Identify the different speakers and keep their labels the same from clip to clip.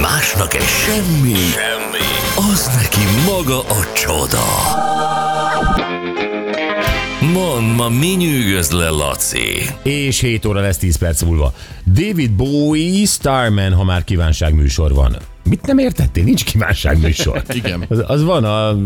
Speaker 1: Másnak egy semmi, semmi, az neki maga a csoda. Mond, ma mi nyűgöz le, Laci?
Speaker 2: És 7 óra lesz 10 perc múlva. David Bowie, Starman, ha már kívánságműsor van. Mit nem értettél? Nincs kívánságműsor.
Speaker 3: Igen.
Speaker 2: Az, az van a,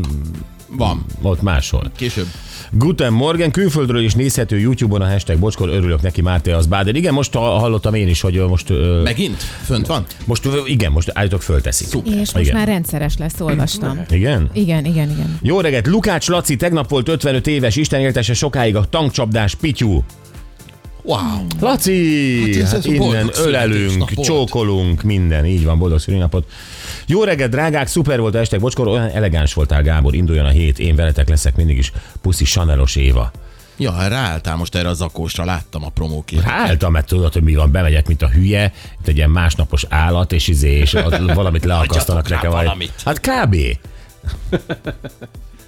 Speaker 3: Van.
Speaker 2: ott máshol.
Speaker 3: Később.
Speaker 2: Guten Morgan, külföldről is nézhető YouTube-on a hashtag bocskor, örülök neki, Márte az báder. Igen, most ha- hallottam én is, hogy ö, most, ö,
Speaker 3: Megint? Fönt van?
Speaker 2: most ö, igen, most állítok fölteszik.
Speaker 3: Szuper.
Speaker 4: És most
Speaker 2: Igen.
Speaker 4: már rendszeres lesz, olvastam.
Speaker 2: Igen?
Speaker 4: Igen, igen, igen.
Speaker 2: Jó reggelt, Lukács Laci tegnap volt 55 éves, Isten éltese sokáig a tankcsapdás Pityú.
Speaker 3: Wow.
Speaker 2: Laci!
Speaker 3: Hát ez-
Speaker 2: Hát
Speaker 3: ez a
Speaker 2: innen
Speaker 3: boldog
Speaker 2: ölelünk,
Speaker 3: születésnapot.
Speaker 2: csókolunk, minden. Így van, boldog szülinapot. Jó reggelt, drágák, szuper volt a estek, bocskor, olyan elegáns voltál, Gábor, induljon a hét, én veletek leszek mindig is. Puszi Sanelos Éva.
Speaker 3: Ja, ráálltál most erre a zakósra, láttam a promókét.
Speaker 2: Álltam, mert Hát, tudod, hogy mi van, bemegyek, mint a hülye, itt egy ilyen másnapos állat, és izé, és a- valamit leakasztanak
Speaker 3: Adjatok rá
Speaker 2: nekem. vagy-
Speaker 3: valamit.
Speaker 2: Hát kb.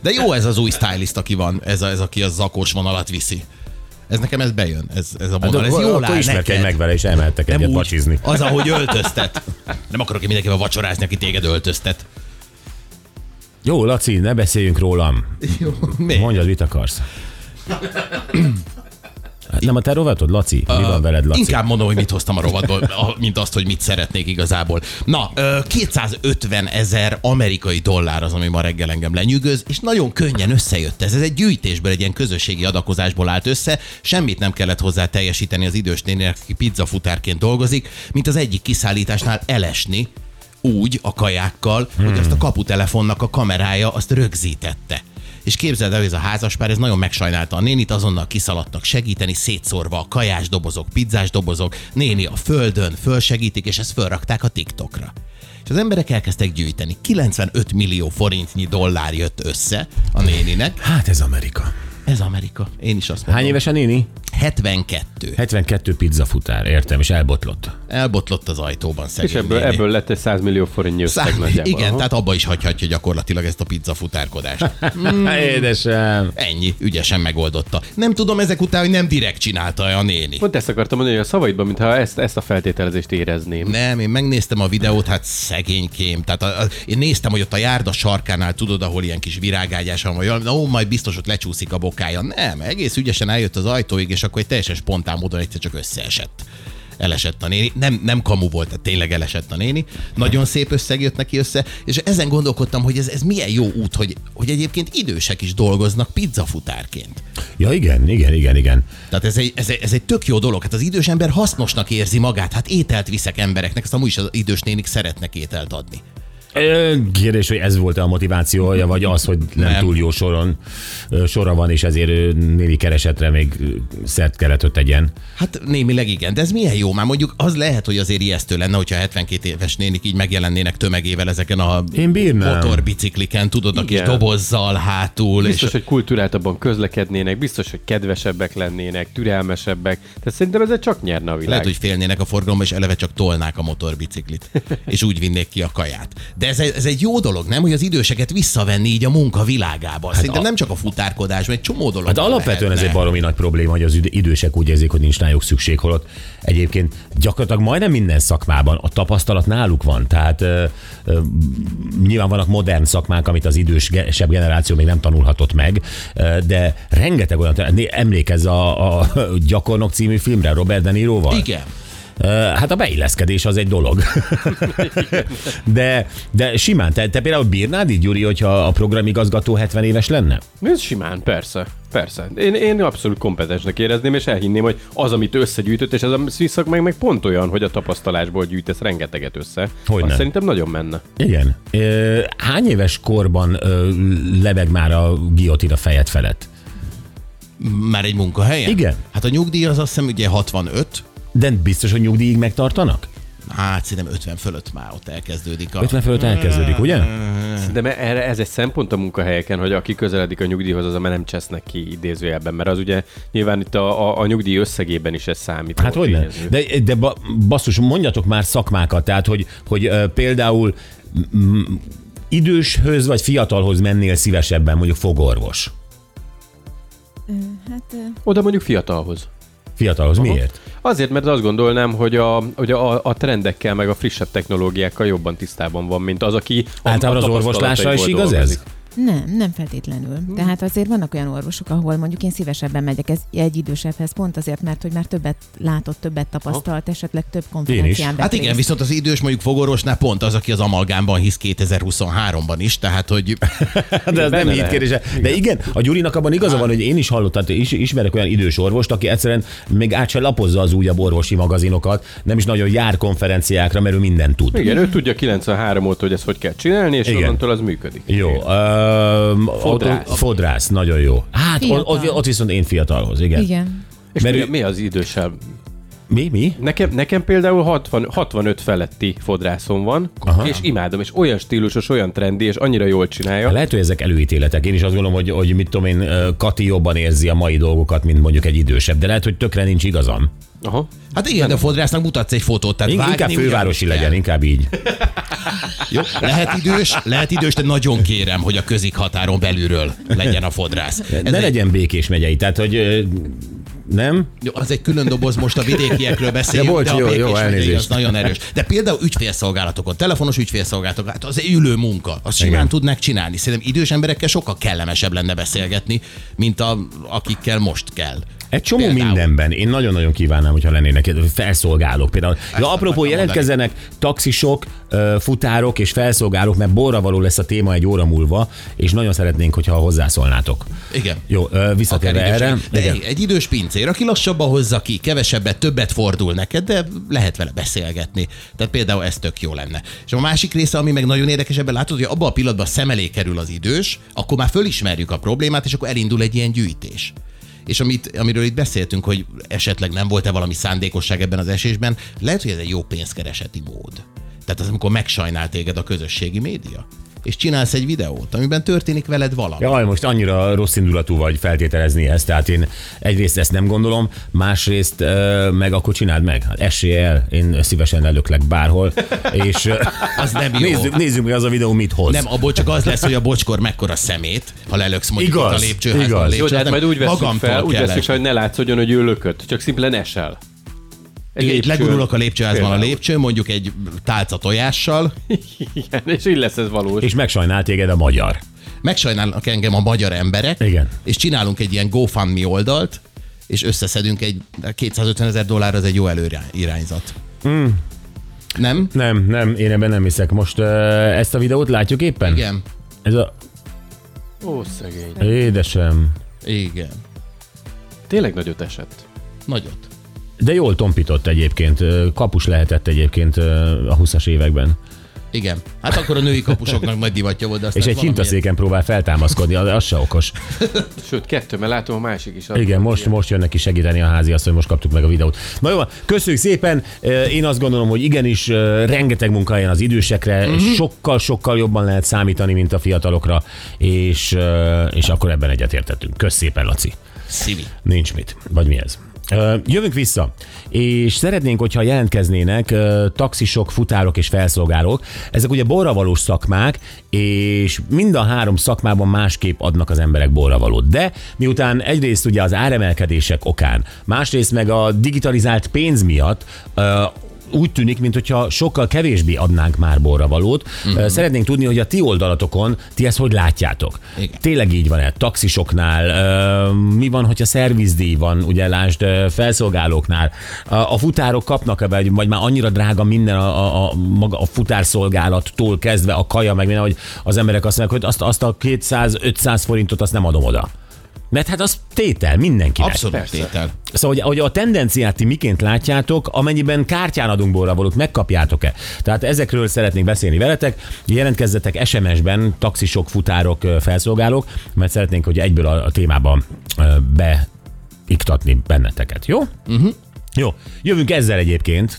Speaker 3: De jó ez az új stylist, aki van, ez, a, ez aki a zakós vonalat viszi. Ez nekem ez bejön, ez, ez a vonal, ez
Speaker 2: Hát, akkor-
Speaker 3: jól
Speaker 2: akkor
Speaker 3: áll
Speaker 2: ismerkedj
Speaker 3: neked.
Speaker 2: meg vele, és elmehettek
Speaker 3: Nem
Speaker 2: egyet
Speaker 3: úgy.
Speaker 2: vacsizni.
Speaker 3: Az, ahogy öltöztet. Nem akarok én mindenkivel vacsorázni, aki téged öltöztet.
Speaker 2: Jó, Laci, ne beszéljünk rólam.
Speaker 3: Jó, miért?
Speaker 2: Mondjad, mit akarsz. Hát nem a te rovatod, Laci? Mi van veled, Laci?
Speaker 3: Inkább mondom, hogy mit hoztam a rovatból, a- mint azt, hogy mit szeretnék igazából. Na, ö, 250 ezer amerikai dollár az, ami ma reggel engem lenyűgöz, és nagyon könnyen összejött ez. Ez egy gyűjtésből, egy ilyen közösségi adakozásból állt össze, semmit nem kellett hozzá teljesíteni az idős néninek, aki pizzafutárként dolgozik, mint az egyik kiszállításnál elesni, úgy a kajákkal, hogy azt a kaputelefonnak a kamerája azt rögzítette. És képzeld el, hogy ez a házaspár, ez nagyon megsajnálta a nénit, azonnal kiszaladtak segíteni, szétszórva a kajás dobozok, pizzás dobozok, néni a földön, fölsegítik, és ezt fölrakták a TikTokra. És az emberek elkezdtek gyűjteni. 95 millió forintnyi dollár jött össze a néninek.
Speaker 2: Hát ez Amerika.
Speaker 3: Ez Amerika. Én is azt mondom.
Speaker 2: Hány éves a néni?
Speaker 3: 72.
Speaker 2: 72 pizzafutár, értem, és elbotlott.
Speaker 3: Elbotlott az ajtóban szegény
Speaker 5: És ebből,
Speaker 3: néni.
Speaker 5: ebből lett egy 100 millió forintnyi összeg
Speaker 3: Szá-
Speaker 5: nagyjából.
Speaker 3: Igen,
Speaker 5: Aha.
Speaker 3: tehát abba is hagyhatja gyakorlatilag ezt a pizza futárkodást.
Speaker 2: Mm. Édesem.
Speaker 3: Ennyi, ügyesen megoldotta. Nem tudom ezek után, hogy nem direkt csinálta a néni.
Speaker 5: Pont ezt akartam mondani, hogy a szavaidban, mintha ezt, ezt a feltételezést érezném.
Speaker 3: Nem, én megnéztem a videót, hát szegénykém. Tehát a, a, én néztem, hogy ott a járda sarkánál, tudod, ahol ilyen kis virágágyás van, vagy valami, na, ó, majd biztos ott lecsúszik a bokája. Nem, egész ügyesen eljött az ajtóig, és akkor egy teljesen spontán módon egyszer csak összeesett. Elesett a néni. Nem, nem kamu volt, tehát tényleg elesett a néni. Nagyon szép összeg jött neki össze, és ezen gondolkodtam, hogy ez, ez milyen jó út, hogy, hogy egyébként idősek is dolgoznak pizzafutárként.
Speaker 2: Ja igen, igen, igen, igen.
Speaker 3: Tehát ez egy, ez, egy, ez egy tök jó dolog. Hát az idős ember hasznosnak érzi magát. Hát ételt viszek embereknek, ezt amúgy is az idős nénik szeretnek ételt adni.
Speaker 2: Ö, Kérdés, hogy ez volt a motivációja, vagy az, hogy nem,
Speaker 3: Nem.
Speaker 2: túl jó soron ö, sora van, és ezért ö, némi keresetre még ö, szert kellett, hogy tegyen.
Speaker 3: Hát némileg igen, de ez milyen jó. Már mondjuk az lehet, hogy azért ijesztő lenne, hogyha 72 éves nénik így megjelennének tömegével ezeken a
Speaker 2: Én bírnám.
Speaker 3: motorbicikliken, tudod, a kis
Speaker 5: Igen.
Speaker 3: dobozzal hátul.
Speaker 5: Biztos,
Speaker 3: és...
Speaker 5: hogy kultúráltabban közlekednének, biztos, hogy kedvesebbek lennének, türelmesebbek. Tehát szerintem ezzel csak nyerne a világ.
Speaker 3: Lehet, hogy félnének a forgalomba, és eleve csak tolnák a motorbiciklit, és úgy vinnék ki a kaját. De ez, ez egy jó dolog, nem? Hogy az időseket visszavenni így a munka világába. Hát Szerintem
Speaker 2: a-
Speaker 3: a... nem csak a futárkodás, mert egy csomó dolog.
Speaker 2: Hát alapvetően ez egy baromi nagy probléma, hogy az üd- idősek úgy érzik, hogy nincs rájuk szükség, holott egyébként gyakorlatilag majdnem minden szakmában a tapasztalat náluk van. Tehát ö, ö, nyilván vannak modern szakmák, amit az idősebb generáció még nem tanulhatott meg, ö, de rengeteg olyan, né- emlékezz a, a Gyakornok című filmre Robert De Niroval?
Speaker 3: Igen.
Speaker 2: Ö, Hát a beilleszkedés az egy dolog. de, de simán, te, te például bírnád így, Gyuri, hogyha a programigazgató 70 éves lenne?
Speaker 5: Ez simán, persze. Persze. Én, én abszolút kompetensnek érezném, és elhinném, hogy az, amit összegyűjtött, és ez a sziszak meg, meg pont olyan, hogy a tapasztalásból gyűjtesz rengeteget össze.
Speaker 2: Hogyne.
Speaker 5: Azt szerintem nagyon menne.
Speaker 2: Igen. Ö, Hány éves korban ö, lebeg már a giotin a fejed felett?
Speaker 3: Már egy munkahelyen?
Speaker 2: Igen.
Speaker 3: Hát a nyugdíj az azt hiszem ugye 65,
Speaker 2: De biztos, hogy nyugdíjig megtartanak?
Speaker 3: hát szerintem 50 fölött már ott elkezdődik a...
Speaker 2: 50 fölött elkezdődik, ugye?
Speaker 5: De mert erre ez egy szempont a munkahelyeken, hogy aki közeledik a nyugdíjhoz, az már nem csesznek ki idézőjelben, mert az ugye nyilván itt a, a, a nyugdíj összegében is ez számít.
Speaker 2: Hát hogy nem. De, de ba- basszus, mondjatok már szakmákat, tehát hogy, hogy ö, például mm, időshöz vagy fiatalhoz mennél szívesebben, mondjuk fogorvos.
Speaker 4: Hát,
Speaker 5: Oda mondjuk fiatalhoz.
Speaker 2: Fiatalhoz. Miért?
Speaker 5: Azért, mert azt gondolnám, hogy a, hogy a, a trendekkel, meg a frissebb technológiákkal jobban tisztában van, mint az, aki a,
Speaker 2: Általában az
Speaker 5: a
Speaker 2: orvoslásra is
Speaker 5: tapasztalataiból
Speaker 2: igaz
Speaker 5: dolgozik.
Speaker 2: ez?
Speaker 4: Nem, nem
Speaker 3: Hm.
Speaker 4: feltétlenül. Tehát azért vannak olyan orvosok, ahol mondjuk én szívesebben megyek ez egy idősebbhez, pont azért, mert hogy már többet látott, többet tapasztalt, esetleg több konferencián vett
Speaker 3: Hát igen,
Speaker 4: részt.
Speaker 3: viszont az idős mondjuk fogorvosnál pont az, aki az amalgámban hisz 2023-ban is, tehát hogy
Speaker 2: Hát De ez nem
Speaker 5: benne
Speaker 2: így
Speaker 5: lehet.
Speaker 2: kérdése. De igen, a Gyurinak abban igaza van, hogy én is hallottam, tehát is, ismerek olyan idős orvost, aki egyszerűen még át se lapozza az újabb orvosi magazinokat, nem is nagyon jár konferenciákra, mert ő mindent tud.
Speaker 5: Igen, ő tudja 93 óta, hogy ezt hogy kell csinálni, és
Speaker 2: Igen.
Speaker 5: onnantól az működik.
Speaker 2: Jó. Um,
Speaker 5: Fodrász.
Speaker 2: Fodrász, nagyon jó. Hát ott,
Speaker 4: Fiatal.
Speaker 2: ott, ott viszont én fiatalhoz, igen. igen.
Speaker 4: Igen.
Speaker 5: És
Speaker 2: Mert
Speaker 5: mi,
Speaker 2: ő-
Speaker 5: mi az idősebb?
Speaker 2: Mi, mi?
Speaker 5: Nekem, nekem például 60, 65 feletti fodrászom van, Aha. és imádom, és olyan stílusos, olyan trendi, és annyira jól csinálja.
Speaker 2: Lehet, hogy ezek előítéletek. Én is azt gondolom, hogy, hogy mit tudom én, Kati jobban érzi a mai dolgokat, mint mondjuk egy idősebb, de lehet, hogy tökre nincs igazam.
Speaker 5: Aha.
Speaker 3: hát igen, de a fodrásznak mutatsz egy fotót, tehát
Speaker 2: Vágni
Speaker 3: vágni
Speaker 2: inkább fővárosi
Speaker 3: ugyanúgy
Speaker 2: legyen,
Speaker 3: kell.
Speaker 2: inkább így.
Speaker 3: Jó, lehet idős, lehet idős, de nagyon kérem, hogy a közik határon belülről legyen a fodrász. Ez
Speaker 2: Ne
Speaker 3: egy-
Speaker 2: legyen Békés megyei, tehát hogy ö, nem?
Speaker 3: Jó, az egy külön doboz, most a vidékiekről beszélünk,
Speaker 2: De volt,
Speaker 3: de a
Speaker 2: jó,
Speaker 3: Békés
Speaker 2: jó,
Speaker 3: megyei
Speaker 2: elnézést.
Speaker 3: az nagyon erős. De például ügyfélszolgálatokon, telefonos ügyfélszolgálatok, hát az egy ülő munka, azt simán
Speaker 2: Igen.
Speaker 3: tudnák csinálni. Szerintem idős emberekkel sokkal kellemesebb lenne beszélgetni, mint a, akikkel most kell.
Speaker 2: Egy csomó
Speaker 3: Például.
Speaker 2: Például. mindenben. Én nagyon-nagyon kívánnám, hogyha lennének, felszolgálók például. Ja, apropó,
Speaker 3: akartam
Speaker 2: jelentkezzenek taxisok, ö, futárok és felszolgálók, mert borra való lesz a téma egy óra múlva, és nagyon szeretnénk, hogyha hozzászólnátok.
Speaker 3: Igen.
Speaker 2: Jó, ö,
Speaker 3: Akár
Speaker 2: visszatérve
Speaker 3: idős-
Speaker 2: erre.
Speaker 3: De
Speaker 2: Igen.
Speaker 3: egy, egy idős pincér, aki lassabban hozza ki, kevesebbet, többet fordul neked, de lehet vele beszélgetni. Tehát például ez tök jó lenne. És a másik része, ami meg nagyon érdekes, ebben látod, hogy abban a pillanatban a szem elé kerül az idős, akkor már fölismerjük a problémát, és akkor elindul egy ilyen gyűjtés. És amit, amiről itt beszéltünk, hogy esetleg nem volt-e valami szándékosság ebben az esésben, lehet, hogy ez egy jó pénzkereseti mód. Tehát az, amikor megsajnál téged a közösségi média, és csinálsz egy videót, amiben történik veled valami.
Speaker 2: Jaj, most annyira rossz indulatú vagy feltételezni ezt, tehát én egyrészt ezt nem gondolom, másrészt ö, meg akkor csináld meg. Hát esél el, én szívesen lelöklek bárhol, és ö,
Speaker 3: Az nem jó.
Speaker 2: nézzük, nézzük, hogy az a videó mit hoz.
Speaker 3: Nem, abból csak az lesz, hogy a bocskor mekkora szemét, ha lelöksz mondjuk
Speaker 2: Igaz,
Speaker 3: ott a lépcsőházban.
Speaker 2: igaz.
Speaker 3: a
Speaker 5: Jó,
Speaker 3: lépcsőn,
Speaker 5: de hát
Speaker 3: nem,
Speaker 5: majd úgy veszük
Speaker 3: magamtól
Speaker 5: fel, úgy
Speaker 3: kell
Speaker 5: veszük fel, hogy ne látszódjon, hogy ő lökött, csak szimplán esel. Egy
Speaker 3: Igen,
Speaker 5: lépcsőn.
Speaker 3: legurulok a lépcsőházban a
Speaker 5: Például.
Speaker 3: lépcső, mondjuk egy tálca tojással,
Speaker 5: Igen, és így lesz ez valós.
Speaker 2: És megsajnál téged a magyar.
Speaker 3: megsajnálnak engem a magyar emberek,
Speaker 2: Igen.
Speaker 3: és csinálunk egy ilyen GoFundMe oldalt, és összeszedünk egy 250 ezer dollár, az egy jó előirányzat.
Speaker 2: Hmm.
Speaker 3: Mm. Nem?
Speaker 2: Nem, nem, én ebben nem hiszek. Most uh, ezt a videót látjuk éppen?
Speaker 3: Igen.
Speaker 2: Ez a...
Speaker 5: Ó, szegény.
Speaker 2: Édesem.
Speaker 3: Igen.
Speaker 5: Tényleg nagyot esett.
Speaker 3: Nagyot.
Speaker 2: De jól tompított egyébként. Ö, Kapus lehetett egyébként ö, a 20-as években.
Speaker 3: Igen. Hát akkor a női kapusoknak nagy divatja volt, de aztán
Speaker 2: És egy
Speaker 3: valamiért-
Speaker 2: hintaszéken próbál feltámaszkodni, az, az se okos.
Speaker 5: Sőt, kettő, mert látom a másik is.
Speaker 2: Igen, most, most jön neki segíteni a házi azt, hogy most kaptuk meg a videót. Na jó, van, köszönjük szépen. Ö, Én azt gondolom, hogy igenis ö, rengeteg munkahelyen az idősekre,
Speaker 3: Mhm.
Speaker 2: mm-hmm. sokkal-sokkal jobban lehet számítani, mint a fiatalokra, és, ö, és akkor ebben egyetértettünk. Kösz szépen, Laci.
Speaker 3: Szivi.
Speaker 2: Nincs mit. Vagy mi ez? Ö, Jövünk vissza, és szeretnénk, hogyha jelentkeznének ö, taxisok, futárok és felszolgálók. Ezek ugye borravalós szakmák, és mind a három szakmában másképp adnak az emberek borravalót. De miután egyrészt ugye az áremelkedések okán, másrészt meg a digitalizált pénz miatt ö, úgy tűnik, mintha sokkal kevésbé adnánk már borra valót. Uh-huh. Szeretnénk tudni, hogy a ti oldalatokon ti ezt hogy látjátok.
Speaker 3: Igen.
Speaker 2: Tényleg így van-e? Taxisoknál? Ö, Mi van, hogyha szervizdíj van, ugye lásd ö, felszolgálóknál? A- A futárok kapnak-e, vagy, vagy már annyira drága minden a, a, a, maga a futárszolgálattól kezdve a kaja, meg minden, hogy az emberek azt mondják, hogy azt, azt a 200-500 forintot azt nem adom oda. Mert hát az tétel mindenkinek.
Speaker 3: Abszolút
Speaker 5: Persze.
Speaker 3: tétel.
Speaker 2: Szóval, hogy, hogy a tendenciát ti miként látjátok, amennyiben kártyán adunk borravalót, megkapjátok-e? Tehát ezekről szeretnék beszélni veletek. Jelentkezzetek SMS-ben, taxisok, futárok, ö, felszolgálók, mert szeretnénk, hogy egyből a, a témába ö, beiktatni benneteket, jó? Uh-huh. Jó, jövünk ezzel egyébként,